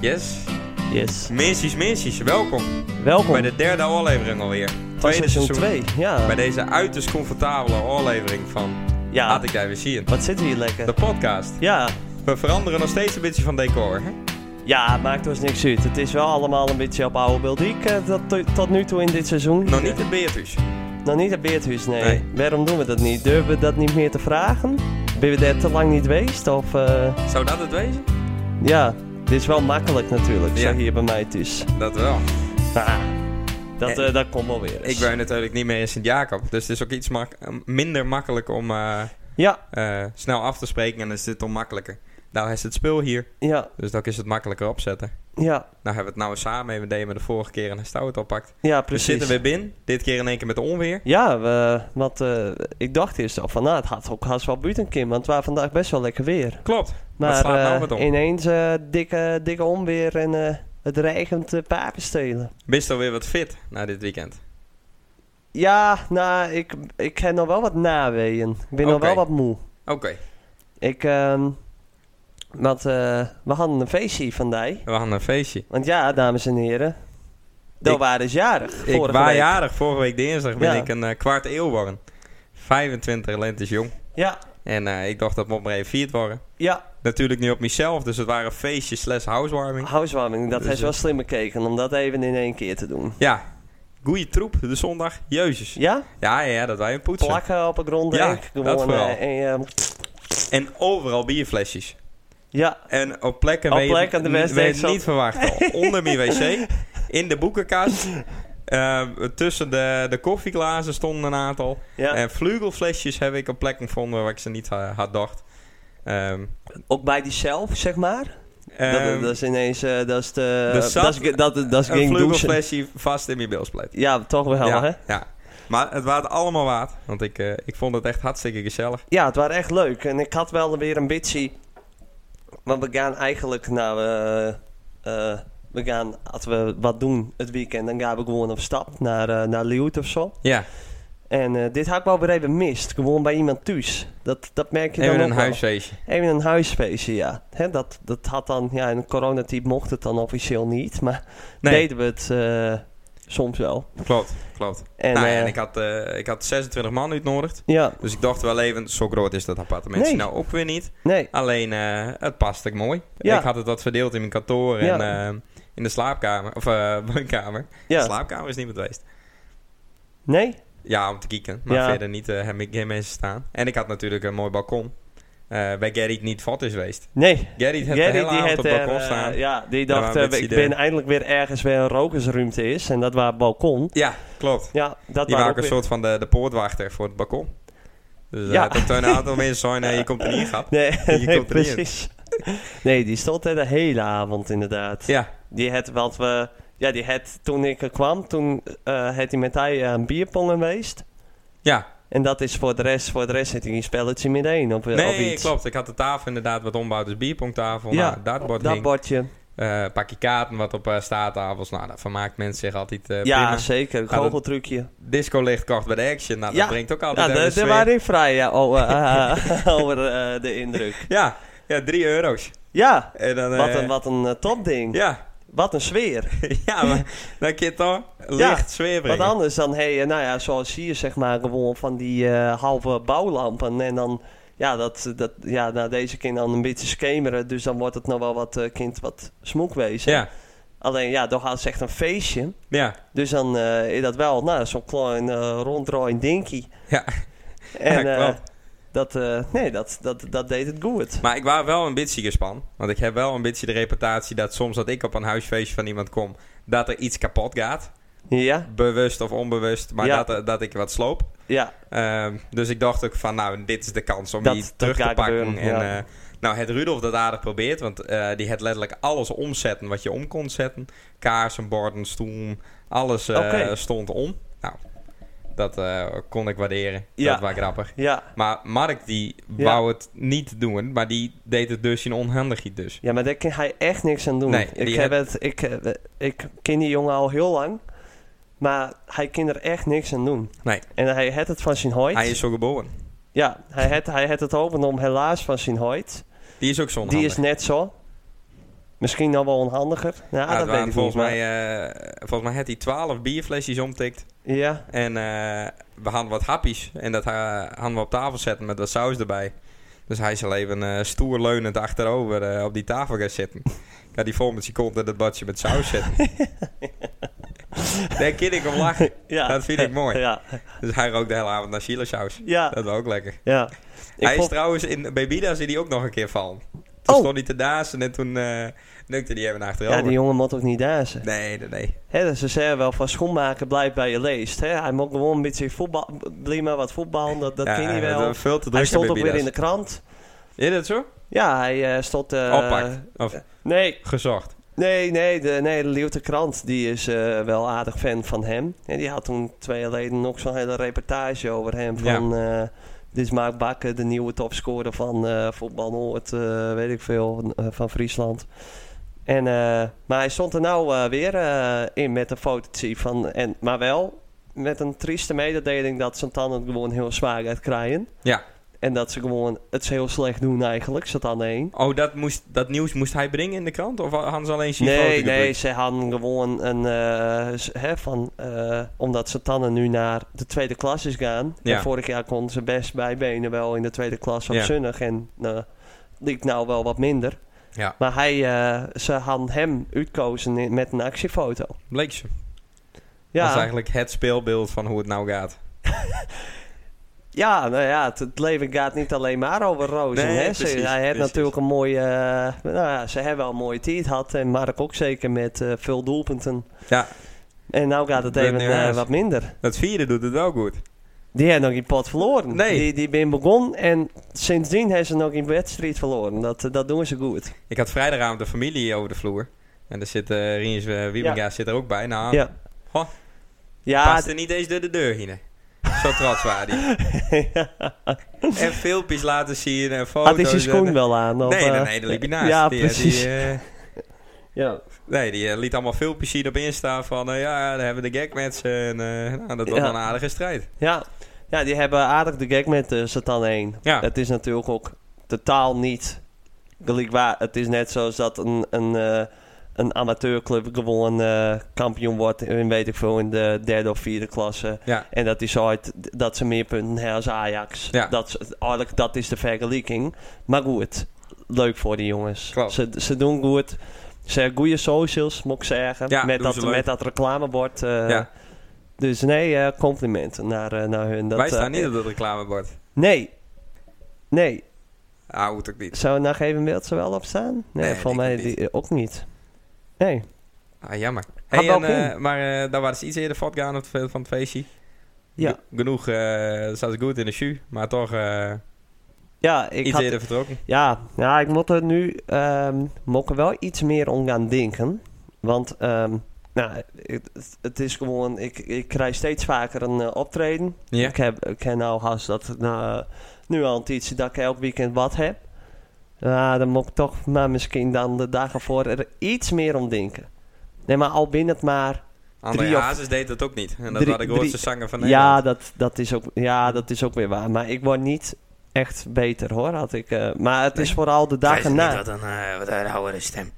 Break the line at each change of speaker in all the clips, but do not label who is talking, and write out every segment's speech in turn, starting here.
Yes.
Yes.
Mensies, mensies, welkom
Welkom
bij de derde aflevering alweer.
bij seizoen 2. Ja.
Bij deze uiterst comfortabele aflevering van
Ja.
Laat ik jij weer zien.
Wat zitten we hier lekker?
De podcast.
Ja.
We veranderen nog steeds een beetje van decor. Hè?
Ja, het maakt ons niks uit. Het is wel allemaal een beetje op oude beeldiek eh, dat to- tot nu toe in dit seizoen.
Nog niet het Beatrice.
Nog niet het Beerthuis, nee.
Nee.
Waarom doen we dat niet? Durven we dat niet meer te vragen? Ben we daar te lang niet geweest? Of, eh,
Zou dat het wezen?
ja, dit is wel makkelijk natuurlijk,
Ja.
zo hier bij mij thuis.
Dat wel.
Ah, dat,
Eh,
eh, dat komt wel weer eens.
Ik ben natuurlijk niet meer in Sint-Jacob. Dus het is ook iets mak- minder makkelijk om eh,
Ja,
eh, snel af te spreken. En dan is dit dan makkelijker. Nou is het spul hier.
ja,
Dus dan is het makkelijker opzetten.
ja,
Nou hebben we het nou eens samen even deden met de vorige keer en hij stout oppakt.
ja,
We
precies.
zitten weer binnen. Dit keer in één keer met de onweer.
Ja, we, want eh, ik dacht eerst al van, nou, het had ook haast wel buiten, Kim, want het was vandaag best wel lekker weer.
Klopt.
Maar
slaat nou
eh,
wat om?
ineens eh, dikke, dikke onweer en eh, het regent eh, papenstelen.
Bist alweer wat fit na dit weekend?
Ja, nou, ik, ik heb nog wel wat naweeën. Ik ben nog
Oké.
wel wat moe.
Oké.
Ik, ehm, want eh, we hadden een feestje vandaag.
We hadden een feestje.
Want ja, dames en heren, dat
Ik-
waren ze jarig.
Ik
vorige
was
week.
jarig. Vorige week dinsdag ben
Ja.
ik een eh, kwart eeuw worden. 25 lentes jong.
Ja,
En eh, ik dacht dat moet maar even vierd worden.
ja,
Natuurlijk niet op mezelf, dus het waren feestjes slash housewarming.
housewarming, dat
Dus,
is
eh,
wel slim bekeken om dat even in één keer te doen.
Ja, goeie troep, de zondag, jezus.
Ja?
Ja, ja, dat wij een poetsen.
plakken op een grond.
Ja,
denk ik.
dat
gewoon,
vooral.
eh, en, eh,
En overal bierflesjes.
ja,
En op plekken
Op
waar je-
plekken de
n-
beste
waar je
ik zat.
niet verwacht. al. Onder mijn wc, in de boekenkast. eh, tussen de, de koffieglazen stonden een aantal.
ja.
En vleugelflesjes heb ik op plekken gevonden waar ik ze niet ha- had dacht. Ehm,
ook bij die zelf, zeg maar. dat,
ehm,
dat is ineens, eh, dat is de,
er zat
dat is, ge- dat, dat is
een
ging douchen.
vleugelflesje vast in mijn bilspleet.
Ja, toch wel,
ja,
hè?
ja. Maar het waard allemaal waard. Want ik, eh, ik vond het echt hartstikke gezellig.
Ja, het was echt leuk. En ik had wel weer een beetje... Want we gaan eigenlijk, nou, eh, eh, we gaan, als we wat doen het weekend, dan gaan we gewoon op stap naar, eh naar Leeuwarden of zo.
Ja,
En eh, dit had ik wel weer even mist. Gewoon bij iemand thuis. Dat, dat merk je dan
even
ook
een
wel.
huisfeestje.
Even een huisfeestje, ja. Hè, dat, dat had dan, ja, in de coronatijd mocht het dan officieel niet, maar
Nee,
deden we het eh, soms wel.
klopt, klopt.
En,
nou, ja,
eh,
en ik had, eh, ik had 26 man uitnodigd.
ja,
Dus ik dacht wel even, zo groot is dat appartement
Nee.
nou ook weer niet.
nee,
Alleen, eh, het past ik mooi.
Ja.
Ik had het wat verdeeld in mijn kantoor en
Ja.
ehm, in de slaapkamer. Of eh woonkamer.
ja.
slaapkamer is niemand geweest.
Nee?
Ja, om te kieken. Maar
Ja.
verder niet, eh, heb ik geen mensen staan. En ik had natuurlijk een mooi balkon. eh bij Gerrit niet vat is geweest.
Nee.
Gerrit heeft
Gerry,
de hele
die
avond
had
op
er,
het balkon
eh,
staan. ja.
ja, die
maar
dacht,
een
eh,
beetje
ik
de-
ben eindelijk weer ergens waar een rokersruimte is. En dat was het balkon.
klopt.
Ja,
Die
dat was
waren
ook
ook een
weer-
soort van de, de poortwachter voor het balkon. Dus
Ja.
ja. dat er een aantal mensen zijn, nee, je komt er niet in, gat.
Nee,
Je
nee,
komt er niet in.
precies. Nee, die stond er de hele avond inderdaad.
Ja,
Die had wat we... Ja, die had, toen ik er kwam, toen eh had hij met hij aan bierpongen geweest.
ja.
En dat is voor de rest, voor de rest zit hij een spelletje met één op, op
Nee,
iets.
klopt. Ik had de tafel inderdaad wat ombouwd, dus bierpongtafel.
Ja,
nou, dartboard
Dat
hing.
bordje.
Eh, pakje kaarten wat op eh, staattafels. Nou, dat vermaakt mensen zich altijd eh
ja,
prima.
zeker.
dat-
Goocheltrucje.
Disco licht kocht bij de Action. Nou, dat
Ja.
brengt ook
ja,
altijd even
daar
een
daar
sfeer.
waren in vrij ja, over, eh, over eh, de indruk.
Ja, ja, 3 euro's.
Ja,
En dan,
wat
eh,
een, wat een eh, topding.
Ja,
Wat een sfeer.
ja maar dan kun je toch licht sfeer
Wat
brengen.
anders dan, hey, eh, nou ja, zoals hier zeg maar gewoon van die eh, halve bouwlampen. En dan, ja, dat, dat, ja nou, deze kind dan een beetje schemeren. Dus dan wordt het nog wel wat, eh, kind, wat smoek wezen.
Ja,
Alleen, ja, dan gaat ze echt een feestje.
ja.
Dus dan eh, is dat wel nou, zo'n klein eh ronddraaiend dinkie.
Ja.
En
Ja,
eh,
klopt.
dat, eh, nee, dat, dat, dat deed het goed.
Maar ik was wel een beetje gespan. Want ik heb wel een beetje de reputatie dat soms dat ik op een huisfeestje van iemand kom, dat er iets kapot gaat.
Ja,
Bewust of onbewust, maar
Ja.
dat, er- dat ik wat sloop.
ja,
Ehm, dus ik dacht ook van, nou, dit is de kans om
Dat-
die
dat
terug te
gaat
pakken.
gebeuren,
en,
ja.
eh, nou, het Rudolf dat aardig probeert, want eh, die had letterlijk alles omzetten wat je om kon zetten. Kaarsen, borden, stoel, alles eh,
Oké.
stond om. Nou, dat eh, kon ik waarderen.
Ja.
Dat was grappig.
ja.
Maar Mark, die
Ja.
wou het niet doen, maar die deed het dus in onhandigheid dus.
Ja, maar daar kan hij echt niks aan doen.
Nee,
ik,
die
heb het, ik, eh, ik ken die jongen al heel lang. Maar hij kan er echt niks aan doen.
Nee.
En hij had het van zijn hoid.
Hij is zo geboren.
Ja, hij had, hij had het overgenomen helaas van zijn hoid.
Die is ook zonhandig.
Die is net zo. Misschien nog wel onhandiger. Ja,
Nou, het
dat
waren
weet ik
volgens
niet,
mij, eh, volgens mij had hij 12 bierflesjes omtikt.
maar- Ja,
En eh, we hadden wat happies. En dat ha- hadden we op tafel zetten met wat saus erbij. Dus hij zal even eh, stoer leunend achterover eh, op die tafel gaan zitten. Ik had die vol met zijn kont en dat badje met saus zetten. Daar kan ik om lachen.
ja.
Dat vind ik mooi.
Ja,
Dus hij rookt de hele avond naar chilasaus.
ja,
Dat was ook lekker.
ja. Ik
hij is
vond-
trouwens in bij Bida zie die ook nog een keer vallen. Toen
Oh.
stond hij te dazen en toen eh nukte hij even achterover.
ja, die jongen moet ook niet dansen.
Nee, nee, nee.
Hè, dus ze zeggen wel van schoenmaken blijft bij je leest. Hè. Hij moet gewoon een beetje voetbal, blijf maar wat voetbal, dat, dat
Ja,
ken je
dat
wel.
was veel te druk
Hij stond
bij
ook weer in
Bida's.
de krant.
Is dat zo?
Ja, hij eh, stond... eh,
Oppakt. Of
Nee,
gezocht.
nee, nee, de, nee, de Leeuwte krant die is eh, wel aardig fan van hem. En die had toen twee jaar geleden nog zo'n hele reportage over hem.
Ja.
Van, eh, dit is Mark Bakker, de nieuwe topscorer van eh, Voetbal Noord, eh, weet ik veel, eh, van Friesland. En, eh, maar hij stond er nou eh, weer eh, in met een fotootje van... En, maar wel met een trieste mededeling dat Santan het gewoon heel zwaar gaat krijgen.
Ja.
En dat ze gewoon het heel slecht doen eigenlijk, Santan 1.
Oh, dat, moest, dat nieuws moest hij brengen in de krant? Of hadden ze alleen zien
Nee,
foto
nee,
gedrukt?
ze hadden gewoon een. eh, z- hè, van, eh, omdat Satannen nu naar de tweede klas is gaan.
Ja.
En vorig jaar kon ze best bijbenen wel in de tweede klas op
Ja.
Zunnig. En eh liep nou wel wat minder.
Ja.
Maar hij, eh, ze hadden hem uitkozen in- met een actiefoto.
Bleek ze. Dat is
Ja,
eigenlijk het speelbeeld van hoe het nou gaat.
ja, nou ja, het, het leven gaat niet alleen maar over rozen.
Nee,
hè. Ze,
precies,
hij heeft
precies.
natuurlijk een mooie... eh, nou ja, ze hebben al een mooie tijd gehad. En Mark ook zeker met eh, veel doelpunten.
Ja.
En nou gaat het
Ben
even
nu
eh,
uit.
wat minder.
Dat vierde doet het ook goed.
Die heeft nog geen pot verloren.
Nee.
Die, die ben begonnen en sindsdien heeft ze nog geen wedstrijd verloren. Dat, eh, dat doen ze goed.
Ik had vrijdagavond de familie over de vloer. En daar zit eh Rienus eh, Wiebinga zit er ook bij. Nou,
Ja.
Goh.
Ja,
past er niet eens door de deur heen. Zo trots waren die. En filmpjes laten zien en foto's.
had hij zijn schoen
en-
wel aan? Of,
Nee, nee,
eh,
nee, daar liep je naast.
Ja,
Die, eh,
precies.
Die, eh,
ja.
Nee, die eh, liet allemaal filmpjes zien op Insta van... eh, ja, daar hebben we de gagmatch en eh, nou, dat was
Ja.
wel een aardige strijd.
Ja. ja, die hebben aardig de gek met eh, Satan 1.
Ja.
Het is natuurlijk ook totaal niet gelijkwaar. Het is net zoals dat een, een, eh, een amateurclub gewoon eh, kampioen wordt in, weet ik veel, in de derde of vierde klasse.
Ja.
En dat is ooit dat ze meer punten hebben als Ajax.
Ja.
Dat, is- eigenlijk, dat is de vergelijking. Maar goed, leuk voor die jongens.
Klopt.
Ze, ze doen goed. Ze hebben goede socials, moet ik zeggen.
Ja,
met,
doen
dat,
ze leuk.
met dat reclamebord. eh,
Ja.
Dus nee, eh, complimenten naar, eh, naar hun. Dat,
Wij
eh,
staan niet op dat reclamebord.
Nee. Nee.
Ah, hoeft ook niet.
Zou er nou geen beeld zo wel op staan? Nee,
Nee,
voor
ik
mij
ook niet.
die, eh, ook niet. Nee.
Ah, jammer.
Had
Hey,
wel
en, eh,
kunnen.
maar eh, daar waren ze iets eerder voortgaan op het, van het feestje.
Ja.
G- genoeg, eh zat goed in de shoe, maar toch eh,
Ja, ik
iets
had,
eerder vertrokken.
ja, ja, ik moet er nu ehm moet ik er wel iets meer om gaan denken. Want ehm, nou, het, het is gewoon, ik, ik krijg steeds vaker een eh, optreden.
Ja,
Ik heb ik ken nou haast dat nou, nu al een tijdje dat ik elk weekend wat heb. Ja, dan moet ik toch maar misschien dan de dagen voor er iets meer om denken. Nee, maar al binnen het maar
André
drie of-
Hazes deed dat ook niet. En dat
drie-
waren de grootste
drie-
zanger van
Ja
Nederland.
dat, dat is ook, ja, dat is ook weer waar. Maar ik word niet echt beter hoor, had ik. eh, maar het is
Nee.
vooral de dagen na.
Wat een, eh, wat een rauwere stem.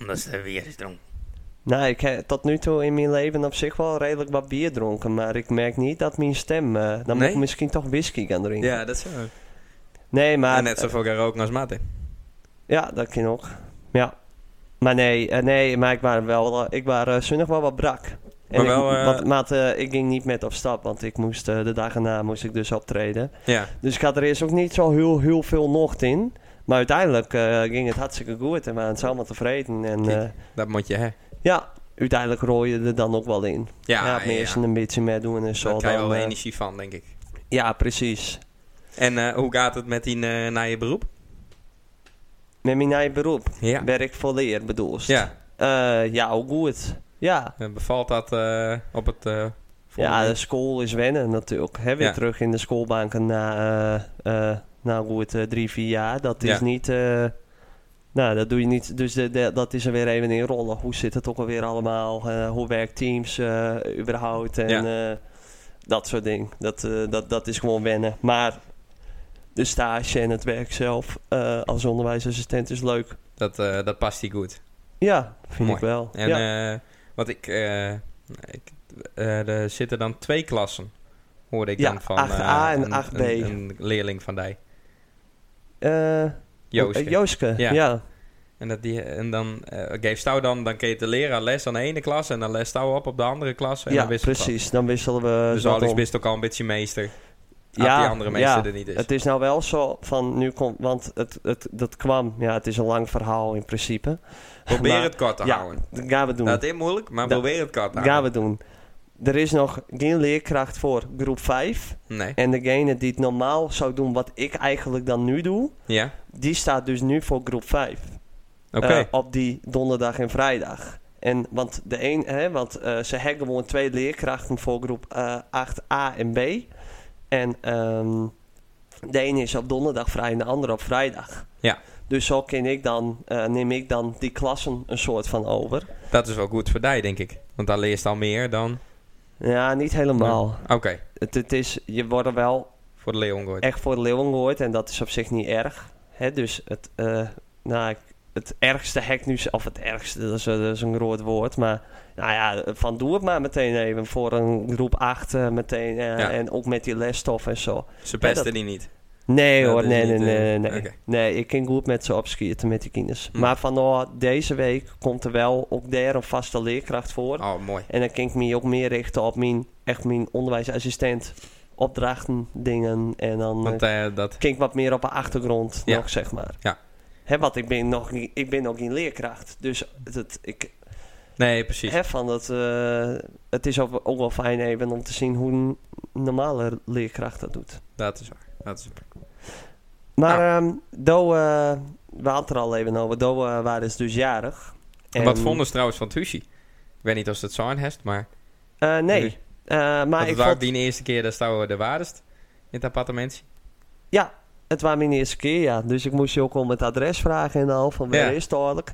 Omdat ze weer is dronken.
Nou, ik heb tot nu toe in mijn leven op zich wel redelijk wat bier dronken. Maar ik merk niet dat mijn stem. eh, dan moet
Nee?
ik misschien toch whisky gaan drinken.
Ja, dat is zo.
Nee, maar. eh,
en net zoveel gaan roken als Martin.
Ja, dat kan ook. Ja. Maar nee, eh, nee maar ik was wel, eh, ik was eh, zonnig wel wat brak. En
Maar
ik,
wel, eh,
wat- maat, eh, ik ging niet met op stap, want ik moest, eh, de dagen na moest ik dus optreden.
Ja,
Dus ik had er eerst ook niet zo heel, heel veel nocht in. Maar uiteindelijk eh, ging het hartstikke goed en waren ze allemaal tevreden. En
Kijk.
eh,
dat moet je, hè.
ja, uiteindelijk rooi je er dan ook wel in.
Ja,
Ja, het eerst een beetje mee doen en zo.
Daar krijg je
dan,
wel
eh,
energie van, denk ik.
ja, precies.
En eh, hoe gaat het met die eh, naar je beroep?
Met mijn eigen beroep,
Ja.
werk voor leer bedoel je?
Ja,
Eh, ja, ook goed. Ja.
eh, bevalt dat eh, op het... eh, volgende
ja, dus- de
week?
school is wennen natuurlijk. Hè, weer
Ja.
terug in de schoolbanken na, eh, eh, na goed eh, drie, vier jaar. Dat is
Ja.
niet... eh, nou, dat doe je niet. Dus de, de- dat is er weer even in rollen. Hoe zit het ook alweer allemaal? Eh, hoe werkt Teams eh, überhaupt? En eh, dat soort dingen. Dat, eh, dat, dat is gewoon wennen. Maar de stage en het werk zelf eh, als onderwijsassistent is leuk.
Dat, eh, dat past hij goed.
Ja, vind
Mooi.
ik wel.
En
ja.
eh, wat ik, eh, ik eh, er zitten dan twee klassen, hoorde ik
Ja,
dan van
8A
eh,
en
een-
8B.
Een, een leerling van die,
Eh,
Joost.
eh, Jooske,
Ja.
ja.
En, dat die, en dan eh geeft Stouw dan, dan keert de leraar les aan de ene klas en dan les Stouw op op de andere klas. En
Ja,
dan wisselt dat.
precies. Dan wisselen we
Dus
dat
Alex
om.
wist ook al een beetje meester. Ja,
Ja,
die andere meester
ja.
er niet is.
Het is nou wel zo van nu komt, want het, het, dat kwam, ja, het is een lang verhaal in principe.
probeer
maar-
het kort te
ja,
houden.
Dat gaan we doen.
Dat Nou, is moeilijk, maar
Dat-
probeer het kort te
Dat gaan
houden.
we doen. Er is nog geen leerkracht voor groep 5.
Nee.
En degene die het normaal zou doen, wat ik eigenlijk dan nu doe,
Ja,
die staat dus nu voor groep 5.
oké.
Eh, op die donderdag en vrijdag. En want, de een, hè, want eh, ze hebben gewoon twee leerkrachten voor groep eh, 8a en b. En ehm, de ene is op donderdag vrij en de andere op vrijdag.
Ja.
Dus zo ken ik dan, eh, neem ik dan die klassen een soort van over.
Dat is wel goed voor die, denk ik. Want dan leerst al meer dan...
Ja, niet helemaal.
Oké,
Het, het is, je wordt er wel
voor de Leongoord.
echt voor leeuwen gehoord en dat is op zich niet erg. Hè? Dus het, eh, nou, ik- het ergste hek nu, of het ergste, dat is, eh, dat is een groot woord, maar nou ja, van doe het maar meteen even voor een groep 8 eh, meteen eh,
Ja.
en ook met die lesstof en zo.
Ze pesten
Ja, dat-
die niet.
Nee
Ja,
hoor,
dus
nee,
niet,
nee,
eh,
nee, nee.
oké.
Nee, ik ging goed met ze opschieten met die kinders.
Hm.
Maar van oh, deze week komt er wel ook daar een vaste leerkracht voor.
Oh, mooi.
En dan kan ik me ook meer richten op mijn, echt mijn onderwijsassistent opdrachten, dingen. En dan eh,
Want eh, dat...
klinkt wat meer op de achtergrond
Ja.
nog, zeg maar.
Ja.
Hè, want ik ben, nog niet, ik ben nog geen leerkracht. Dus het, ik,
Nee, precies.
hè, van dat, eh, het is ook, ook wel fijn even om te zien hoe een normale leerkracht dat doet.
Dat is waar. Dat is waar.
Maar
Nou.
ehm do, eh, we hadden het er al even over. Do eh, waren ze dus jarig. En-
Wat vonden ze trouwens van Tushi? Ik weet niet of ze het zo aan heeft, maar...
Eh, nee.
Nee.
Eh, maar
dat
ik
was ook
vond,
die eerste keer dat Stouw de waardest in het appartement.
het was mijn eerste keer, ja. Dus ik moest je ook al met adres vragen en al. Van waar
Ja.
is het eigenlijk?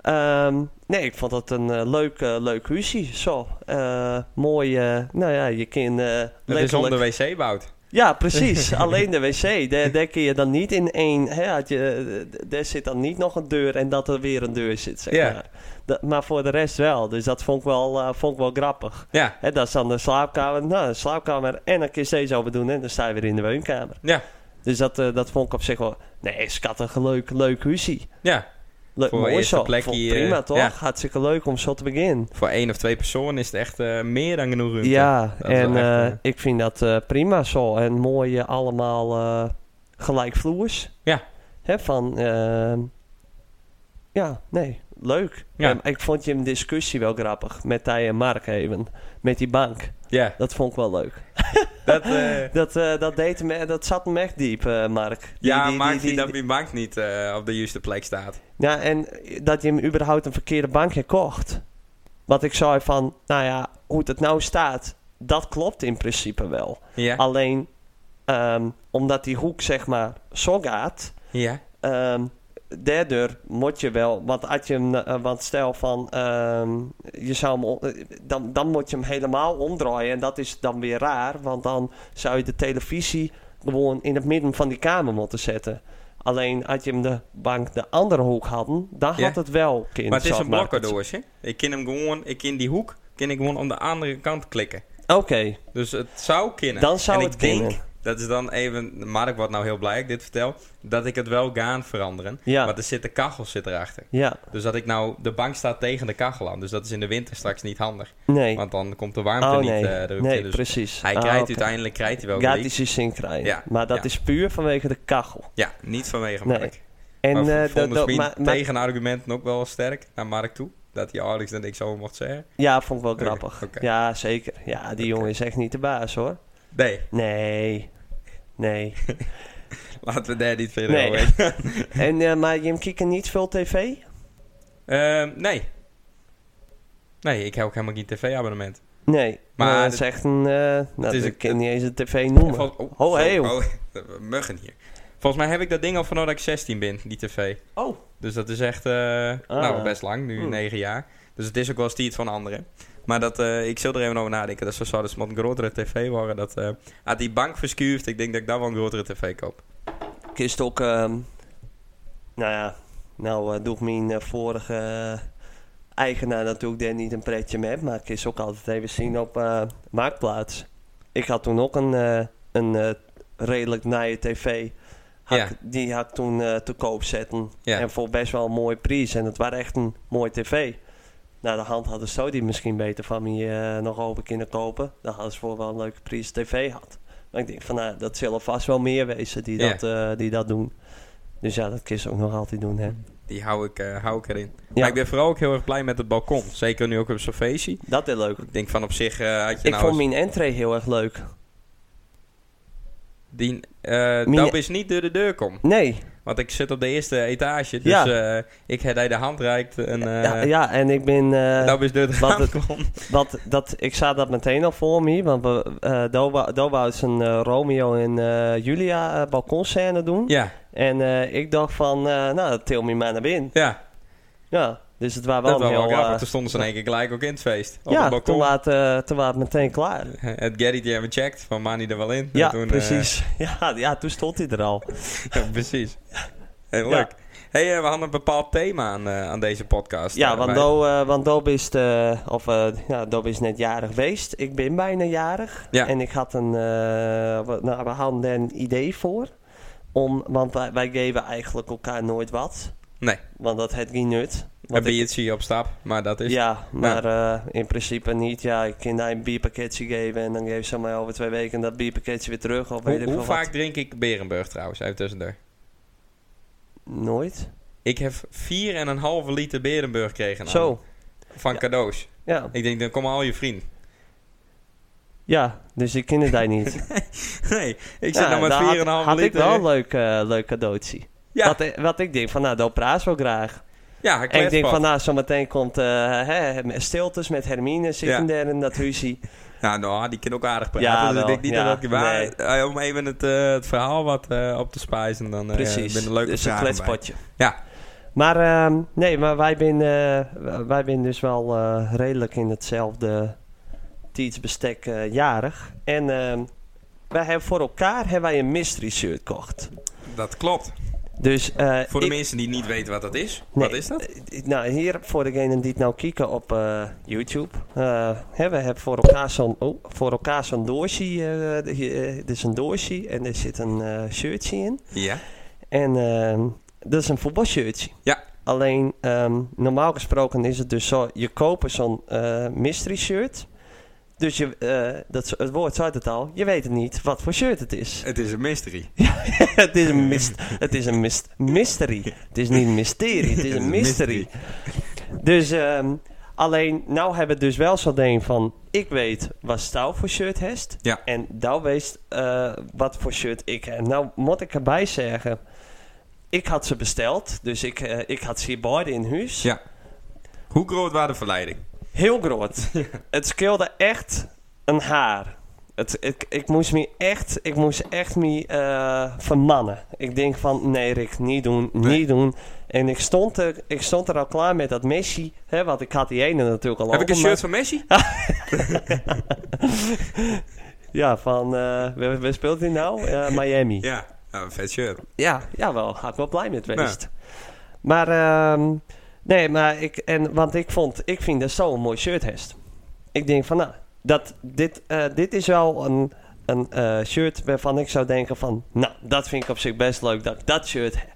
Ehm, nee, ik vond dat een eh, leuk, eh, leuk huisje. Zo. Eh, mooi. eh, nou ja, je kan eh
Dat is
letterlijk-
onder wc bouwt.
Ja, precies. Alleen de wc. Daar, daar kun je dan niet in één... Hè, had je, d- daar zit dan niet nog een deur en dat er weer een deur zit, zeg
Ja.
maar. Dat- maar voor de rest wel. Dus dat vond ik wel, eh, vond ik wel grappig.
Ja,
Hè, dat is dan de slaapkamer. Nou, de slaapkamer. En dan kun je steeds over doen. En dan sta je weer in de woonkamer.
Ja.
Dus dat, eh, dat vond ik op zich wel... Nee, schattig, leuk, leuk huisie.
ja.
Leuk,
Voor
mooi
eerste
zo.
plekje,
Vond ik prima,
eh,
toch?
ja.
Hartstikke leuk om zo te beginnen.
Voor één of twee personen is het echt eh, meer dan genoeg ruimte.
Ja,
Dat is wel
en
echt,
eh,
eh,
ik vind dat eh, prima zo. En mooi eh, allemaal eh gelijkvloers.
Ja.
Hè, van, ehm, ja, nee, leuk.
Ja.
Ehm, ik vond je een discussie wel grappig met Thij en Mark even. Met die bank.
Ja,
Dat vond ik wel leuk.
dat... eh,
Dat, eh, dat, deed me, dat zat me echt diep, eh, Mark. Die-
ja,
die-
maakt
die- die-
niet dat die bank niet eh, op de juiste plek staat.
Ja, en dat je hem überhaupt een verkeerde bank hebt kocht. Wat ik zei van, nou ja, hoe het nou staat, dat klopt in principe wel.
Ja,
Alleen ehm, omdat die hoek zeg maar zo gaat,
ja.
ehm daardoor moet je wel. Want als je hem, eh, want stel van ehm, je zou hem, on- eh, dan, dan moet je hem helemaal omdraaien en dat is dan weer raar, want dan zou je de televisie gewoon in het midden van die kamer moeten zetten. Alleen had je hem de bank de andere hoek hadden, dan had
Ja.
het wel kind.
Maar het is
zeg
een
het-
blokkendoosje. Ik ken hem gewoon, ik ken die hoek, ken ik gewoon aan de andere kant klikken.
Oké,
Dus het zou kunnen.
dan zou
en
het
ik denk,
kunnen.
dat is dan even, Mark wordt nou heel blij dat ik dit vertel, dat ik het wel gaan veranderen.
Ja.
Want er zit de kachel zit erachter.
Ja,
Dus dat ik nou, de bank staat tegen de kachel aan. Dus dat is in de winter straks niet handig.
nee.
Want dan komt de warmte
Oh
niet
nee,
eh, eruit.
nee,
in. dus
precies.
hij
Ah,
krijgt
oké.
uiteindelijk krijgt hij wel
Ja,
gelijk.
die ze zin krijgen.
Ja,
Maar dat
ja.
is puur vanwege de kachel.
Ja, niet vanwege
Nee.
Mark.
En
En, maar
eh, dat-
vond
dat-
misschien
maar- maar-
tegenargumenten ook wel sterk naar Mark toe. Dat hij Alex en ik zo mocht zeggen.
ja, vond ik wel
Oké,
grappig.
oké.
Ja, zeker. Ja, die
Oké.
jongen is echt niet de baas hoor.
Nee,
Nee. Nee.
laten we daar niet verder
Nee.
over heen.
en, eh, maar Jim kieken niet veel tv?
Ehm, nee. Nee, ik heb ook helemaal geen tv-abonnement.
Nee.
Maar
Maar het
dit-
is echt een. eh nou,
is
ik
een-
kan niet eens een tv noemen.
Vol- Oh,
Oh, hey,
vol- oh, muggen hier. Volgens mij heb ik dat ding al vanaf dat ik 16 ben, die tv.
Oh.
Dus dat is echt, eh,
Ah.
nou, best lang, nu
Hmm.
9 jaar. Dus het is ook wel eens die het van anderen. Maar dat, eh, ik zal er even over nadenken. Dat ah, zou dus een grotere tv worden. Dat, eh, had die bank verskuurd, ik denk dat ik daar wel een grotere tv koop.
kun je het ook, ehm, nou ja, nou eh, doe ik mijn eh, vorige eh, eigenaar natuurlijk daar niet een pretje mee, maar ik is ook altijd even zien op eh, Marktplaats. Ik had toen ook een, eh, een eh, redelijk naaie tv, had
Ja.
ik- die had ik toen eh, te koop zetten.
Ja.
En voor best wel een mooie prijs. En het was echt een mooie tv. Nou, de hand hadden zo die misschien beter van me eh, nog over kunnen kopen. Dan hadden ze voor wel een leuke prijs tv had. Maar ik denk van, nou, dat zullen vast wel meer wezen die,
Ja.
dat, eh, die dat doen. Dus ja, dat kun je ook nog altijd doen, hè.
Die hou ik, eh, hou ik erin.
Ja,
Maar ik ben vooral ook heel erg blij met het balkon. Zeker nu ook op zo'n feestje.
dat is leuk.
Ik denk van op zich eh, had je
Ik
nou...
vond
eens-
mijn entree heel erg
Eh,
leuk.
die, eh
Mien-
dat is niet door de deur kom.
Nee,
Want ik zit op de eerste etage. Dus
Ja.
eh, ik heb hij de hand reikt. En eh
ja, ja, en ik ben... eh,
dat is door de
want
hand kom.
Want dat, ik zag dat meteen al voor me, want we, eh Doba, Doba is een eh, Romeo en eh, Julia eh, balkonscène doen.
Ja,
En eh, ik dacht van, eh, nou, dat til me maar naar binnen.
ja.
Ja, dus het waren
dat
wel
was
een
wel
heel...
grappig.
eh,
Toen stonden ze in één keer gelijk ook in het feest. Op het
ja,
balkon.
toen waren het, eh, toen waren het meteen klaar.
Het Gary die hebben gecheckt van Mani er wel in. En
Ja,
toen, eh,
precies. Ja, ja, toen stond hij er al.
ja, precies. Heel leuk. hey, eh, we hadden een bepaald thema aan, eh, aan deze podcast.
Ja,
Eh,
want
wij-
Do, eh, want Do is, de, of, eh, ja, Do is net jarig geweest. Ik ben bijna jarig.
Ja.
En ik had een, eh, we- nou, we hadden daar een idee voor. Om, want wij, wij geven eigenlijk elkaar nooit wat.
Nee.
Want dat heeft geen nut.
Een
Want ik-
biertje op stap, maar dat is...
ja, maar eh, in principe niet. Ja, ik kan daar een bierpakketje geven en dan geef ze mij over twee weken dat bierpakketje weer terug. Of weet
Hoe,
ik
hoe
veel
vaak
Wat.
drink ik Berenburg trouwens, uit tussendoor?
Nooit.
Ik heb 4,5 liter Berenburg gekregen.
Zo,
aan- Van
Ja.
cadeaus.
ja.
Ik denk, dan komen al je vrienden.
Ja, dus ik ken het daar niet.
Nee, ik zit
Ja,
nou met 4,5
daar had-
liter.
Had ik wel een leuk, eh, leuk cadeautje.
Ja.
Wat, ik- wat ik denk van, nou, dat praat wel graag.
Ja, een
En ik denk
kletspad.
van, nou, zometeen komt eh, hè, met stiltes met Hermine zitten daar in dat huisje.
Nou, nou, die kan ook aardig praten.
Ja,
dus
wel.
ik denk niet
Ja,
dat ik... Maar
nee.
eh, om even het, eh, het verhaal wat eh, op te spijzen, dan eh
Precies.
ben een leuke
dus een
vragen bij.
kletspotje.
Ja.
Maar ehm, nee, maar wij zijn wij ben dus wel eh, redelijk in hetzelfde tijdsbestek eh, jarig. En ehm, wij hebben voor elkaar hebben wij een mystery shirt gekocht.
Dat klopt.
Dus eh,
Voor de
ik-
mensen die niet weten wat dat is.
Nee.
Wat is dat?
Eh, Nou, hier voor degenen die het nou kijken op eh, YouTube. eh, hè, we hebben voor elkaar zo'n oh, voor elkaar zo'n doosje. eh, de- eh, Dit is een doosje en er zit een eh, shirtje in.
Ja.
En ehm, dat is een voetbalshirtje.
Ja.
Alleen, ehm, normaal gesproken is het dus zo... Je koopt zo'n eh, mystery shirt. Dus je, eh, dat, is- het woord zei het al. Je weet het niet wat voor shirt het is.
Het is een mystery.
het is een, mys- het is een mys- mystery. Het is niet een mysterie, het is een mystery. Dus ehm, alleen, nou hebben we dus wel zo'n ding van... Ik weet wat Stouw voor shirt heeft.
Ja.
En nou weet eh, wat voor shirt ik heb. Nou moet ik erbij zeggen... Ik had ze besteld. Dus ik, eh, ik had ze beide in huis.
Ja. Hoe groot was de verleiding?
Heel groot. Het scheelde echt een haar. Het, ik, ik moest me echt, ik moest echt me eh, vermannen. Ik denk van, nee Rick, niet doen, niet
Nee.
doen. En ik stond, er, ik stond er al klaar met dat Messi, hè, want ik had die ene natuurlijk al
Heb ik een
open, maar-
shirt van Messi?
Ja, van, eh waar, waar speelt hij nou? Eh, Miami.
Ja. Nou, een vet shirt.
Ja, jawel. Had ik wel blij met geweest. Maar, ehm, nee, maar ik, en, want ik vond, ik vind dat zo'n mooi shirt heeft. Ik denk van, nou, dat, dit, eh, dit is wel een, een eh, shirt waarvan ik zou denken van, nou, dat vind ik op zich best leuk dat ik dat shirt heb.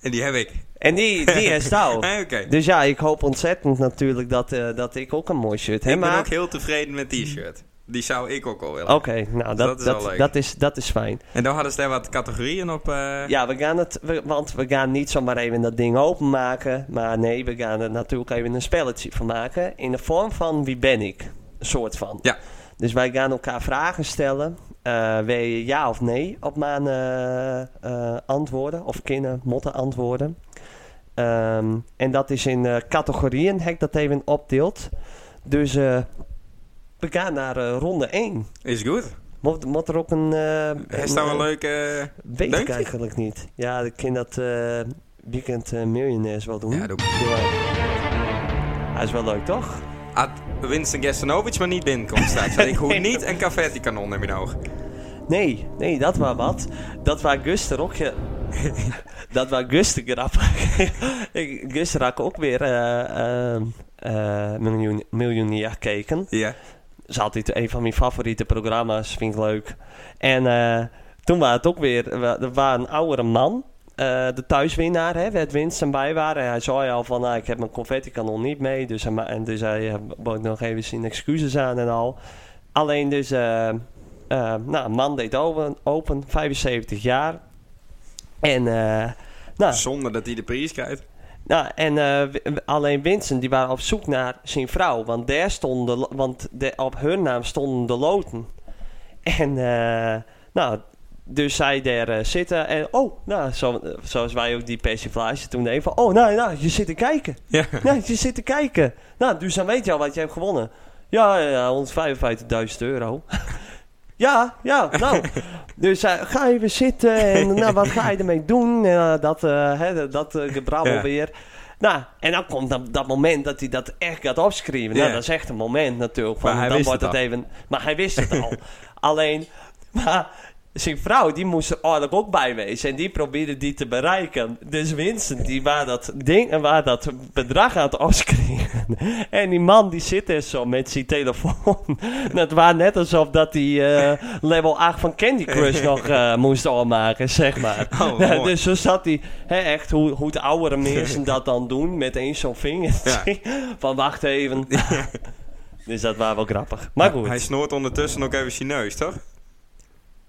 En die heb ik.
En die, die is nou.
Hey, Oké.
Dus ja, ik hoop ontzettend natuurlijk dat, eh, dat ik ook een mooi shirt heb.
ik ben
maar-
ook heel tevreden met die shirt. Die zou ik ook al willen.
Oké, nou, dat,
Dus dat is
dat,
wel
dat,
leuk.
is, dat is fijn.
En dan hadden ze daar wat categorieën op. eh,
Ja, we gaan het, we- want we gaan niet zomaar even dat ding openmaken. Maar nee, we gaan er natuurlijk even een spelletje van maken. In de vorm van wie ben ik? Een soort van.
Ja.
Dus wij gaan elkaar vragen stellen. eh wil je ja of nee op mijn eh, eh, antwoorden? Of kinderen motten antwoorden. Ehm, en dat is in eh, categorieën, heb ik dat even opdeeld. Dus eh, we gaan naar eh, ronde 1.
Is goed.
Moet, moet er ook een... eh,
Hij staat
een-
wel leuk. eh,
Weet
Denk
ik
je?
eigenlijk niet. Ja, ik ken dat eh, Weekend eh, Millionaires wel doen.
Ja, doe ik.
Ja. Hij is wel leuk, toch?
Had Winston Gestanovic maar niet binnenkomt straks. Want ik hoef niet een confetti kanon in mijn oog.
Nee, nee, dat was wat. Dat was Guster ook. je- dat was Guster grappig. Ik- Guster had ook weer eh, ehm, eh, miljoen, miljonair gekeken.
Ja.
Dat is altijd een van mijn favoriete programma's, vind ik leuk. En eh, toen was het ook weer, wa- er was een oudere man, eh, de thuiswinnaar, hè, werd winst en bij waren. En hij zei al van, nou, ik heb mijn confetti-kanon niet mee. Dus hij, ma- en dus hij eh, bood nog even zijn excuses aan en al. Alleen dus, eh, eh, nou, een man deed open, open 75 jaar. En, eh, nou,
Zonder dat hij de prijs krijgt.
nou, en eh, w- w- alleen Winston, die waren op zoek naar zijn vrouw. Want, daar stonden, lo- want de- op hun naam stonden de loten. En, eh, nou, dus zij daar eh, zitten. En, oh, nou, zo, eh, zoals wij ook die persiflage toen deden. Van, oh, nou, nou, je zit te kijken.
Ja.
Nou, je zit te kijken. Nou, dus dan weet je al wat je hebt gewonnen. Ja, ja, ja 155.000 euro. ja, ja, nou. Dus eh, ga even zitten en nou, wat ga je ermee doen? En, eh, dat eh, hè, dat eh, gebrabbel
Ja.
weer. Nou, en dan komt dat, dat moment dat hij dat echt gaat opschrijven. Nou,
Ja.
dat is echt een moment natuurlijk.
Maar
want
hij
dan
wist
wordt
het
het even. Maar hij wist het al. Alleen, maar zijn vrouw die moest er eigenlijk ook bij wezen. En die probeerde die te bereiken. Dus Vincent, die waar dat, ding, eh, waar dat bedrag aan het afschrijven. En die man die zit er zo met zijn telefoon. Het was net alsof dat hij eh, level 8 van Candy Crush nog eh, moest afmaken, zeg maar.
Oh,
Nou,
mooi.
dus zo zat hij, hè, echt hoe, hoe de oudere mensen dat dan doen, met eens zo'n vinger.
Ja.
Van wacht even. dus dat was wel grappig. Maar goed.
Hij snoort ondertussen ook even Chineus, toch?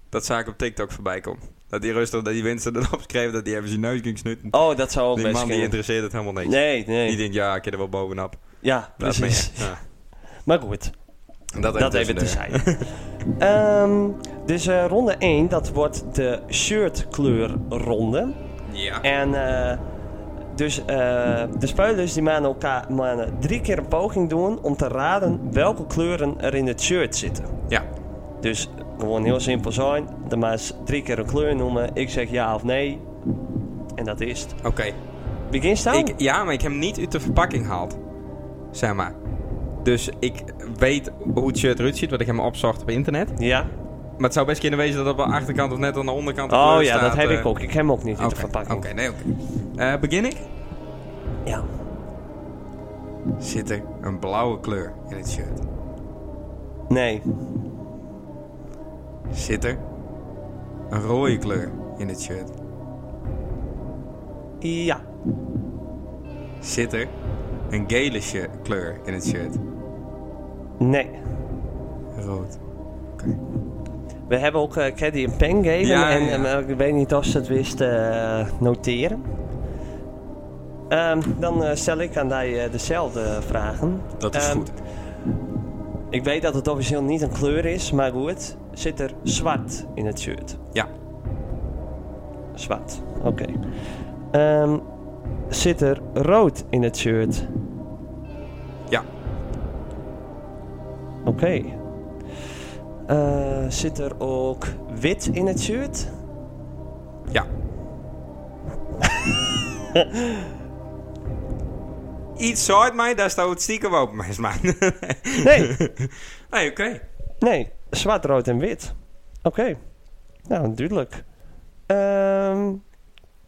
Dat zag ik op TikTok voorbij komen. Dat die rustig, dat die Winston erop schreef dat hij even zijn neus ging snuiten.
Oh, dat zou ook
die
best
man die
kunnen.
interesseert het helemaal niks.
Nee,
Die
nee.
denkt, ja, ik heb er wel bovenop.
Ja,
Laat maar,
precies.
ja.
Maar goed,
Ja. Dat,
dat even te
tussen
zijn. dus eh, ronde 1, dat wordt de shirtkleurronde.
de- Ja.
En eh, dus eh, de spelers die maanden elkaar maanden drie keer een poging doen om te raden welke kleuren er in het shirt zitten.
ja.
Dus gewoon heel simpel zijn. De maas drie keer een kleur noemen. Ik zeg ja of nee. En dat is het.
Oké.
Begin staan?
Ik- Ja, maar ik heb hem niet uit de verpakking gehaald. Zeg maar. Dus ik weet hoe het shirt eruit ziet, want ik heb hem opgezocht op internet.
Ja.
Maar het zou best kunnen wezen dat op de achterkant of net aan de onderkant de
Oh
kleur
ja,
staat,
dat heb
eh,
ik ook. Ik heb hem ook niet in
Oké,
de verpakking.
oké, nee, oké. Eh, begin ik?
Ja.
Zit er een blauwe kleur in het shirt?
Nee.
Zit er een rode kleur in het shirt?
Ja.
Zit er een gele shi- kleur in het shirt?
Nee.
Rood. Oké.
We hebben ook eh Caddy een pen gegeven.
Ja,
en,
ja.
en, eh, ik weet niet of ze het wist eh, noteren. Ehm, dan eh, stel ik aan jij eh, dezelfde vragen.
Dat is
Ehm,
goed.
Ik weet dat het officieel niet een kleur is, maar goed. Zit er zwart in het shirt?
Ja.
Zwart, oké. Ehm, zit er rood in het shirt?
Ja.
Oké. Eh, zit er ook wit in het shirt?
Ja. Iets soort mij, daar staat het stiekem open, mijn man.
Nee.
Nee, oké.
Nee, zwart, rood en wit. Oké. Nou, duidelijk. Ehm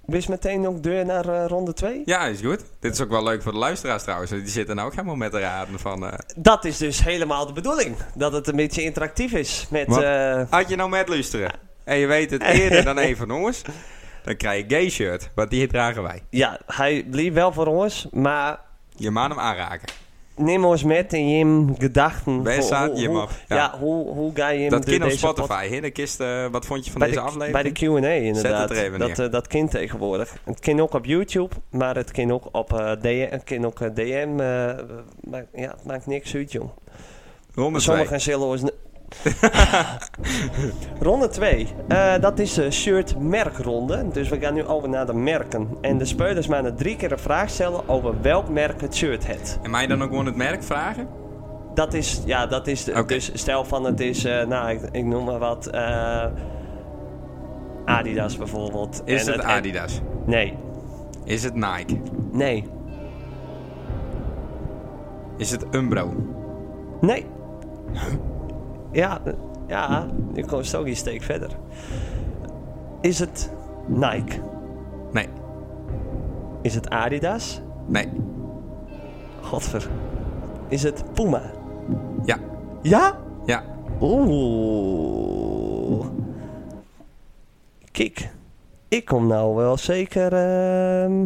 wist meteen ook deur naar eh, ronde 2?
Ja, is goed. Dit is ook wel leuk voor de luisteraars trouwens. want Die zitten nou ook helemaal met de raden van... eh,
Dat is dus helemaal de bedoeling. Dat het een beetje interactief is. Met,
Wat?
eh,
Had je nou met luisteren en je weet het eerder dan een van ons, dan krijg je gay shirt, want die dragen wij.
ja, hij bleef wel voor ons, maar
Je maan hem aanraken.
neem ons met in je gedachten.
Wij
Hoe-
zaten
hoe-
je hem
hoe-
af,
Ja,
ja.
hoe, hoe ga je hem
Dat
de-
kind op
deze pod-
Spotify, hè? De kist, eh, wat vond je van
bij
deze
de,
aflevering?
Bij de Q&A inderdaad.
er even
dat,
neer.
eh, dat kind tegenwoordig. Het kind ook op YouTube, maar het kind ook op eh, DM. Het kind ook eh, DM. eh, maar, ja, het maakt niks uit, jong.
Ronde twee.
Sommigen zullen ons... ne- ronde 2. dat is de shirt-merkronde. Dus we gaan nu over naar de merken. En de spelers maanden drie keer een vraag stellen over welk merk het shirt heeft.
En mij dan ook gewoon het merk vragen?
Dat is, ja, dat is... de-
Oké.
Dus stel van het is, eh, nou, ik, ik noem maar wat... eh, Adidas bijvoorbeeld.
Is
En
het
en-
Adidas?
nee.
Is het Nike?
Nee.
Is het Umbro?
Nee. Ja, Ja, je komt ook een steek verder. Is het Nike?
Nee,
Is het Adidas?
nee,
Godver. Is het Puma?
ja,
Ja?
ja,
Oeh. Kijk, ik kom nou wel zeker. ehm,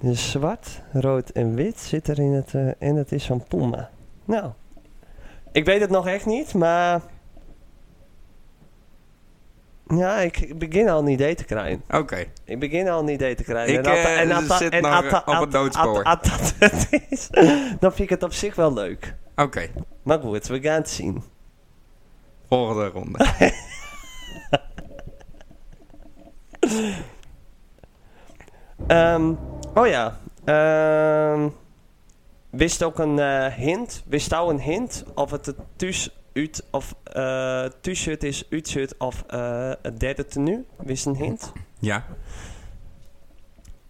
dus zwart, rood en wit zit er in het. eh, en het is van Puma. Nou, ik weet het nog echt niet, maar. Ja, ik begin al een idee te krijgen.
oké.
Ik begin al een idee te krijgen.
Ik,
en als-
eh,
en als dat-
zit
en
nog
als dat-
op het
als-
doodspoor.
als- als dat het is, dan vind ik het op zich wel leuk.
Oké,
Maar goed, we gaan het zien.
volgende ronde.
Ehm, oh ja. Ehm, wist ook een eh, hint? Wist jou een hint of het het thuis uit of eh, t-shirt is, uitshirt of eh, het derde tenue? Wist een hint?
ja,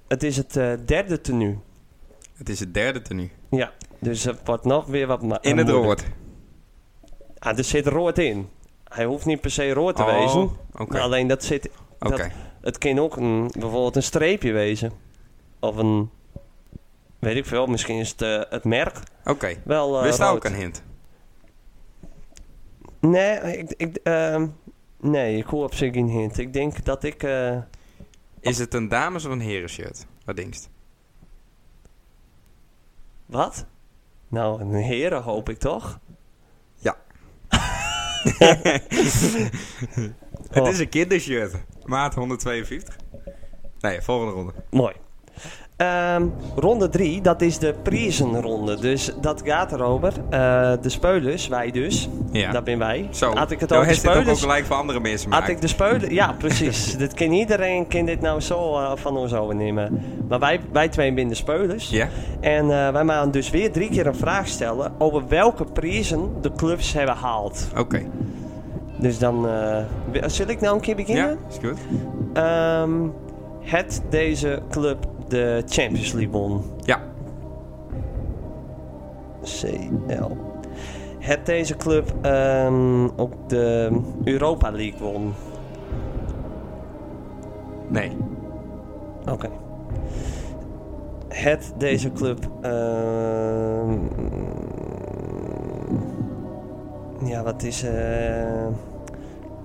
Het is het eh, derde tenue.
het is het derde tenue.
Ja, dus het wordt nog weer wat. ma-
In het
moeilijk.
rood.
Ah, er zit rood in. Hij hoeft niet per se rood te
Oh,
wezen.
Oké, oké.
Alleen dat zit. Het kan ook een, bijvoorbeeld een streepje wezen. Of een. Weet ik veel, misschien is het, eh, het merk
Oké,
wel. eh,
wist daar ook
rood.
een hint?
Nee, ik, ik, ehm, nee, ik hoor op zich geen hint. Ik denk dat ik... eh,
Is het een dames- of een herenshirt? Wat denkst
wat? Nou, een heren hoop ik toch?
Ja. Het
Oh,
is een kindershirt. Maat 152. Nee, volgende ronde.
Mooi. Ehm, ronde 3, dat is de prijzenronde. Dus dat gaat erover. Eh, de speulers, wij dus.
Ja.
Dat ben wij.
Zo,
Had ik het
nou
over
heeft dit ook, ook
speulers...
gelijk voor andere mensen
Had
maar
ik de speulen... Ja, precies. dit kan iedereen kan dit nou zo eh, van ons overnemen. Maar wij, wij twee zijn de speulers.
Ja?
En eh, wij gaan dus weer drie keer een vraag stellen over welke prijzen de clubs hebben gehaald.
Oké.
Dus dan. eh, wi- zul ik nou een keer
Ja,
beginnen?
is goed.
Ehm, het deze club de Champions League won.
Ja,
CL. Het deze club ehm, ook de Europa League won.
nee.
Oké. Het deze club. ehm, ja, wat is. eh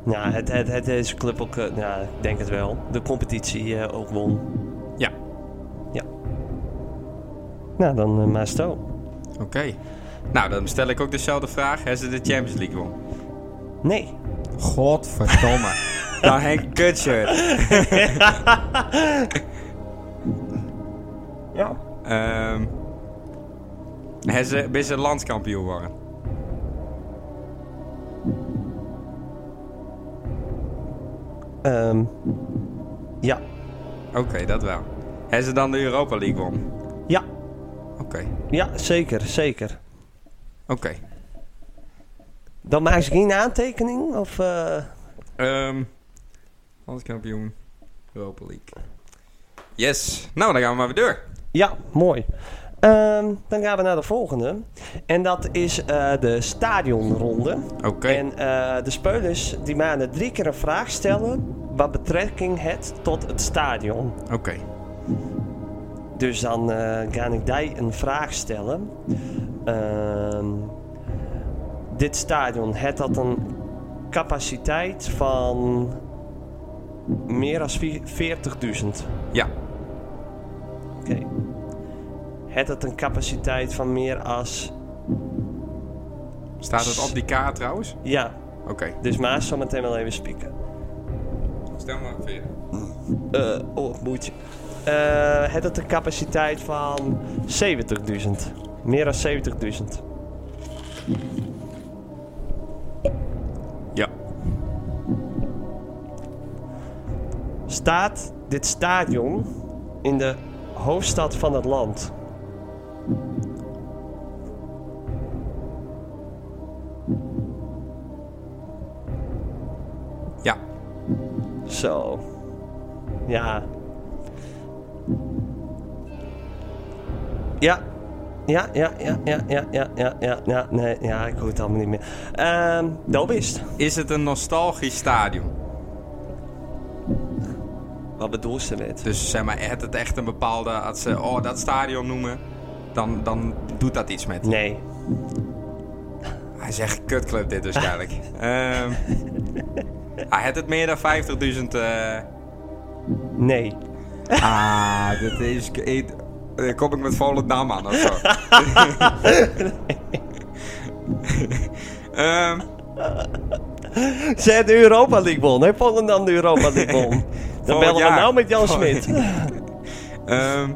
nou, het, het, het deze club ook. eh, ja, ik denk het wel. De competitie eh, ook won.
Ja,
Nou, dan eh, maar sto.
oké. Nou, dan stel ik ook dezelfde vraag. Hebben ze de Champions League won?
Nee.
Godverdomme. nou, Henk Kutshirt.
Ja.
Ehm hebben ze, ben ze landskampioen geworden?
Ehm, ja.
Oké, dat wel. Hebben ze dan de Europa League won?
Ja.
Oké,
Ja, zeker, zeker.
oké.
Dan maak ze geen aantekening? Of. eh,
Ehm landskampioen, Europa League. Yes. Nou, dan gaan we maar weer door.
Ja, mooi. Ehm, dan gaan we naar de volgende. En dat is eh, de stadionronde.
Oké.
En eh, de spelers die maanden drie keer een vraag stellen wat betrekking het tot het stadion.
Oké.
Dus dan eh, ga ik die een vraag stellen. Ehm, dit stadion, het had een capaciteit van meer dan 40.000.
Ja.
Oké. Het had een capaciteit van meer als...
Staat het op die kaart trouwens?
Ja,
Oké.
dus Maas zal meteen wel even spieken.
Stel maar verder.
Eh, oh, boetje. Eh, het had een capaciteit van 70.000. Meer dan 70.000.
Ja.
Staat dit stadion in de hoofdstad van het land?
Ja.
Zo. Ja. Ja. Ja, ja, ja, ja, ja, ja, ja, ja, ja, nee, ja, ik hoor het allemaal niet meer. Ehm, dat is het.
Is het een nostalgisch stadion?
Wat bedoel je met?
Dus zeg maar, het het echt een bepaalde... Als ze oh, dat stadion noemen, dan, dan doet dat iets met.
Nee,
Hij zegt kutclub dit waarschijnlijk. Ehm hij had het meer dan 50.000... eh,
nee.
Ah, dat is... eh, Dan kom ik met Volendam aan of zo. Ehm,
Zet de Europa League won, hè? Volendam de Europa League won. Dan bellen we
jaar.
nou met Jan Smit.
ehm,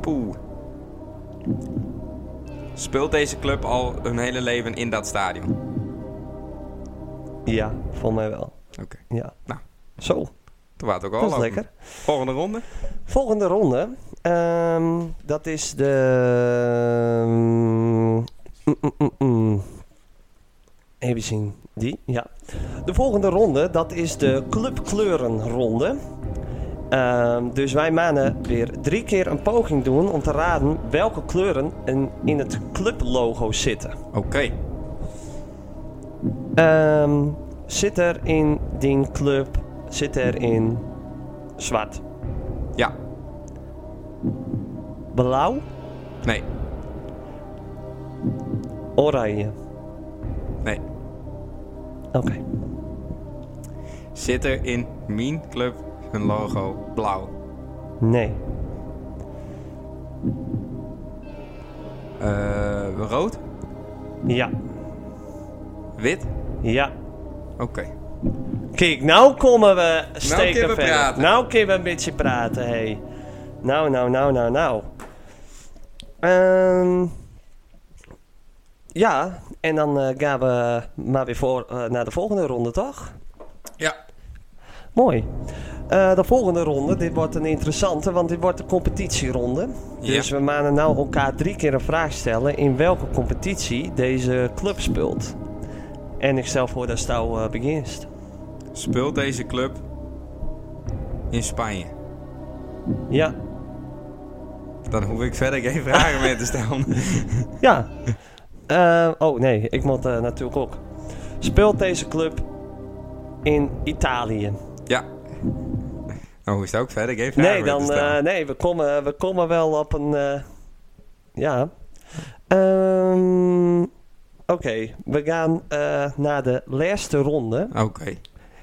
poeh. Speelt deze club al hun hele leven in dat stadion?
Ja, volgens mij wel.
Oké.
Ja.
Nou.
Zo,
Toen waren het ook al
dat is
lopen.
lekker.
Volgende ronde.
Volgende ronde. ehm, dat is de. mm, mm, mm, mm. Even zien. Die? Ja. De volgende ronde, dat is de clubkleurenronde. Ehm, dus wij mannen weer drie keer een poging doen om te raden welke kleuren in- in het clublogo zitten.
Oké.
Ehm, zit er in die club, zit er in zwart,
Ja.
blauw,
Nee.
oranje?
Nee.
Oké.
Zit er in mijn club hun logo blauw?
Nee.
Eh, rood?
Ja.
Wit?
Ja.
Oké.
Kijk, nou komen we steken
kunnen we
verder.
praten.
Nou kunnen we een beetje praten, hé. Hey. Nou, nou, nou, nou, nou. Ehm, ja, en dan eh, gaan we maar weer voor, eh, naar de volgende ronde, toch?
Ja.
Mooi. Eh, de volgende ronde, dit wordt een interessante, want dit wordt de competitieronde.
Ja.
Dus we gaan nou elkaar drie keer een vraag stellen in welke competitie deze club speelt. En ik stel voor dat Stouw eh begint.
Speelt deze club in Spanje?
Ja,
Dan hoef ik verder geen vragen meer te stellen.
ja. Eh, oh nee, ik moet eh, natuurlijk ook. Speelt deze club in Italië?
ja. Nou, hoe is het ook verder? Geen vragen
Nee,
meer te
dan,
stellen.
eh, nee we, komen, we komen wel op een. eh, ja. Ehm, Oké, we gaan eh, naar de laatste ronde.
Oké.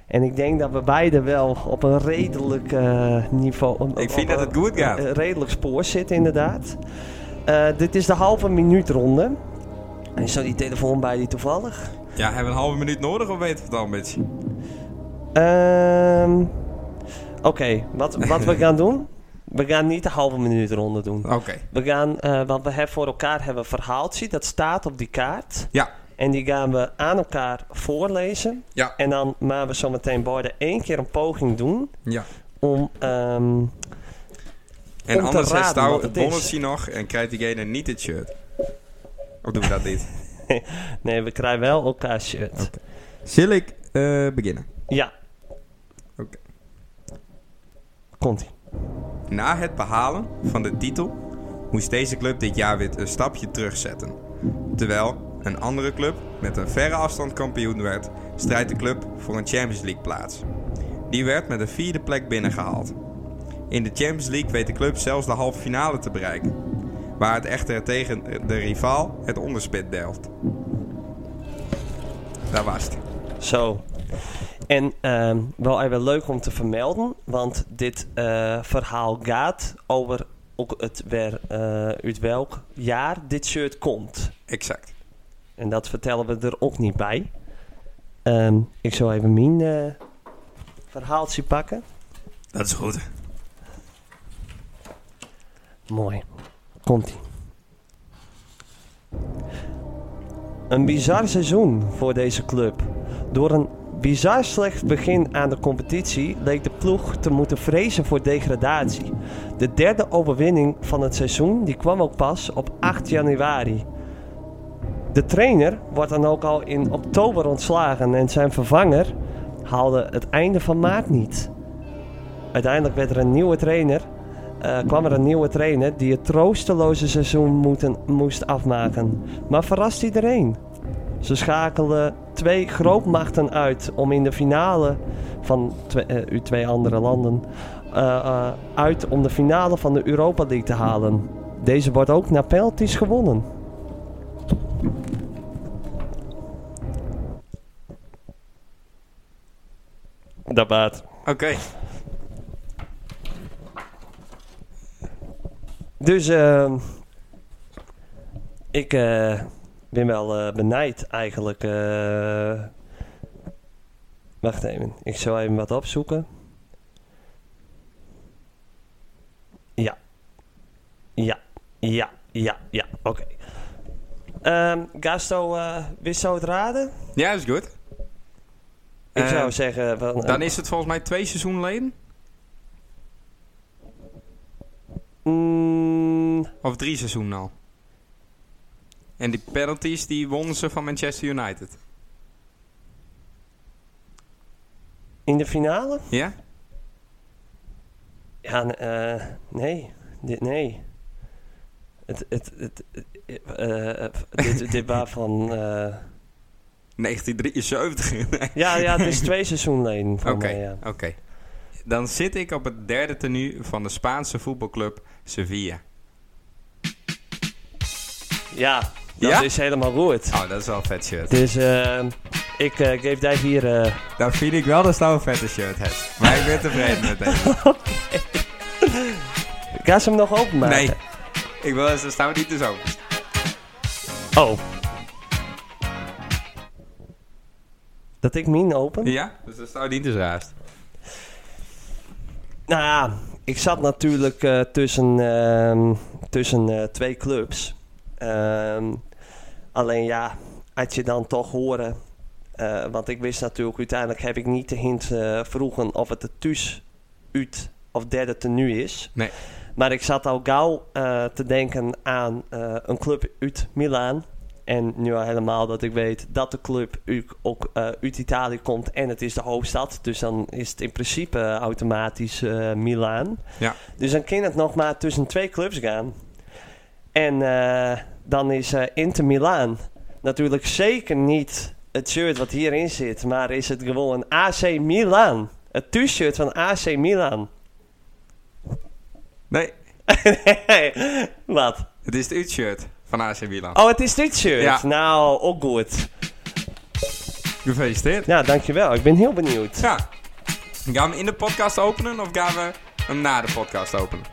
En ik denk dat we beide wel op een redelijk eh, niveau. op-
Ik
op
vind dat
een-
het goed gaat.
een redelijk spoor zitten, inderdaad. Eh, dit is de halve minuut ronde. En is zo die telefoon bij die toevallig?
Ja, hebben we een halve minuut nodig of weten we het al een beetje?
Ehm, Oké, wat, wat we gaan doen? We gaan niet de halve minuut ronde doen.
Oké.
We gaan, eh, want we hebben voor elkaar hebben een verhaaltje. Dat staat op die kaart.
Ja.
En die gaan we aan elkaar voorlezen.
Ja.
En dan maken we zometeen beide één keer een poging doen.
Ja.
Om, ehm,
En
te
anders
raden
heeft Stouw
wat
het
het is.
bonnetje nog en krijgt diegene niet het shirt. Of doen we dat niet?
nee, we krijgen wel elkaar shirt.
Zal ik eh, beginnen?
Ja.
Oké.
Komt ie.
Na het behalen van de titel moest deze club dit jaar weer een stapje terugzetten. Terwijl een andere club met een verre afstand kampioen werd, strijdt de club voor een Champions League plaats. Die werd met een vierde plek binnengehaald. In de Champions League weet de club zelfs de halve finale te bereiken, waar het echter tegen de rivaal het onderspit delft. Daar was het.
Zo. En ehm, wel even leuk om te vermelden, want dit eh, verhaal gaat over ook het weer, eh, uit welk jaar dit shirt komt.
Exact.
En dat vertellen we er ook niet bij. Ehm, ik zal even mijn eh, verhaaltje pakken.
Dat is goed.
Mooi. Komt-ie. Een bizar seizoen voor deze club. Door een bizar slecht begin aan de competitie leek de ploeg te moeten vrezen voor degradatie. De derde overwinning van het seizoen die kwam ook pas op 8 januari. De trainer wordt dan ook al in oktober ontslagen en zijn vervanger haalde het einde van maart niet. Uiteindelijk werd er een nieuwe trainer eh, kwam er een nieuwe trainer die het troosteloze seizoen moeten, moest afmaken. Maar verrast iedereen. Ze schakelden twee grootmachten uit om in de finale van twee, eh, uw twee andere landen eh, eh, uit om de finale van de Europa League te halen. Deze wordt ook na penalties gewonnen. Dat baat.
Oké.
Dus ehm, ik eh, ben wel eh, benijd eigenlijk. eh. wacht even, ik zal even wat opzoeken. Ja. Ja, ja, ja, ja, oké. Ehm, Gasto, eh wist zo het raden?
Ja, is goed.
Ik
Eh,
zou zeggen... Van, eh,
Dan is het volgens mij twee seizoenen geleden.
mm,
Of drie seizoenen al. En die penalties die wonnen ze van Manchester United.
in de finale?
Ja?
Ja, n- eh, nee. Dit, nee. Het, het, het, eh, eh, dit, dit waarvan... eh
1973. Nee.
ja, ja, het is twee seizoenen alleen voor
Oké,
mij, ja.
oké. Dan zit ik op het derde tenue van de Spaanse voetbalclub Sevilla.
Ja, dat
Ja?
is helemaal goed.
Oh, dat is wel een vet shirt.
Dus eh, ik eh, geef daar hier... eh,
Dan vind ik wel dat je een vette shirt hebt. Maar ik ben tevreden met deze.
ga ze hem nog openmaken?
Nee. Ik wil eens, dan staan we niet dus open.
Oh. Dat ik min open?
Ja? Dus dan staan we niet dus raast.
Nou ja, ik zat natuurlijk eh, tussen, ehm, tussen eh, twee clubs. Ehm, alleen ja, had je dan toch horen. eh, want ik wist natuurlijk, uiteindelijk heb ik niet de hint eh vroegen of het de thuis, uit of derde tenue is.
Nee.
Maar ik zat al gauw eh, te denken aan eh, een club uit Milaan. En nu al helemaal dat ik weet dat de club u- ook eh, uit Italië komt en het is de hoofdstad. Dus dan is het in principe eh, automatisch eh, Milaan.
Ja.
Dus dan kan het nog maar tussen twee clubs gaan. En eh, dan is eh, Inter Milaan natuurlijk zeker niet het shirt wat hierin zit. Maar is het gewoon AC Milaan. Het t-shirt van AC Milaan.
Nee,
wat?
het is het U-shirt van AC Milan.
Oh, het is dit shirt.
Ja.
Nou, ook goed.
Gefeliciteerd.
Ja, dankjewel. Ik ben heel benieuwd.
Ja. Gaan we hem in de podcast openen of gaan we hem na de podcast openen?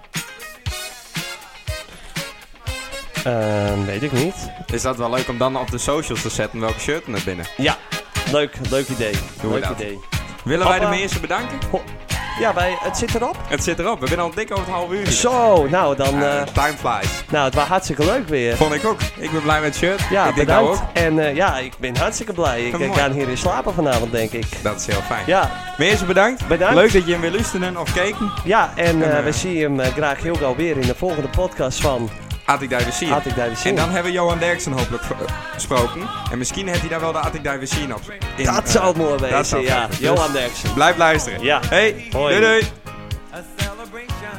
Ehm, weet ik niet.
Is dat wel leuk om dan op de socials te zetten welke shirt er naar binnen?
Ja, leuk, leuk idee.
Doen we
leuk
dat.
idee.
Willen wij de
Papa.
mensen bedanken?
Ho- Ja, wij, het zit erop.
Het zit erop, we zijn al dik over het half uur.
Zo, nou dan.
Ja,
eh,
time flies.
nou, het was hartstikke leuk weer.
Vond ik ook. Ik ben blij met het shirt.
Ja,
ik denk jou
bedankt.
ook.
En eh, ja, ik ben hartstikke blij. Ik
Ja,
eh,
mooi.
ga hier in slapen vanavond, denk ik.
Dat is heel fijn.
Ja,
Mensen bedankt.
Bedankt.
Leuk dat je hem weer luisteren of keken.
ja en eh,
En, eh,
we zien hem eh, graag heel gauw weer in de volgende podcast van
Had ik daar weer zien.
Had ik daar weer
En
zien.
dan hebben we Johan Derksen hopelijk eh, gesproken. En misschien heeft hij daar wel de Had ik daar weer zien op. in,
Dat
eh,
zou het mooi
dat zou
wezen, ja.
vet zijn. Dus
Johan Derksen.
Blijf luisteren.
Ja.
Hey,
Hoi.
doei doei.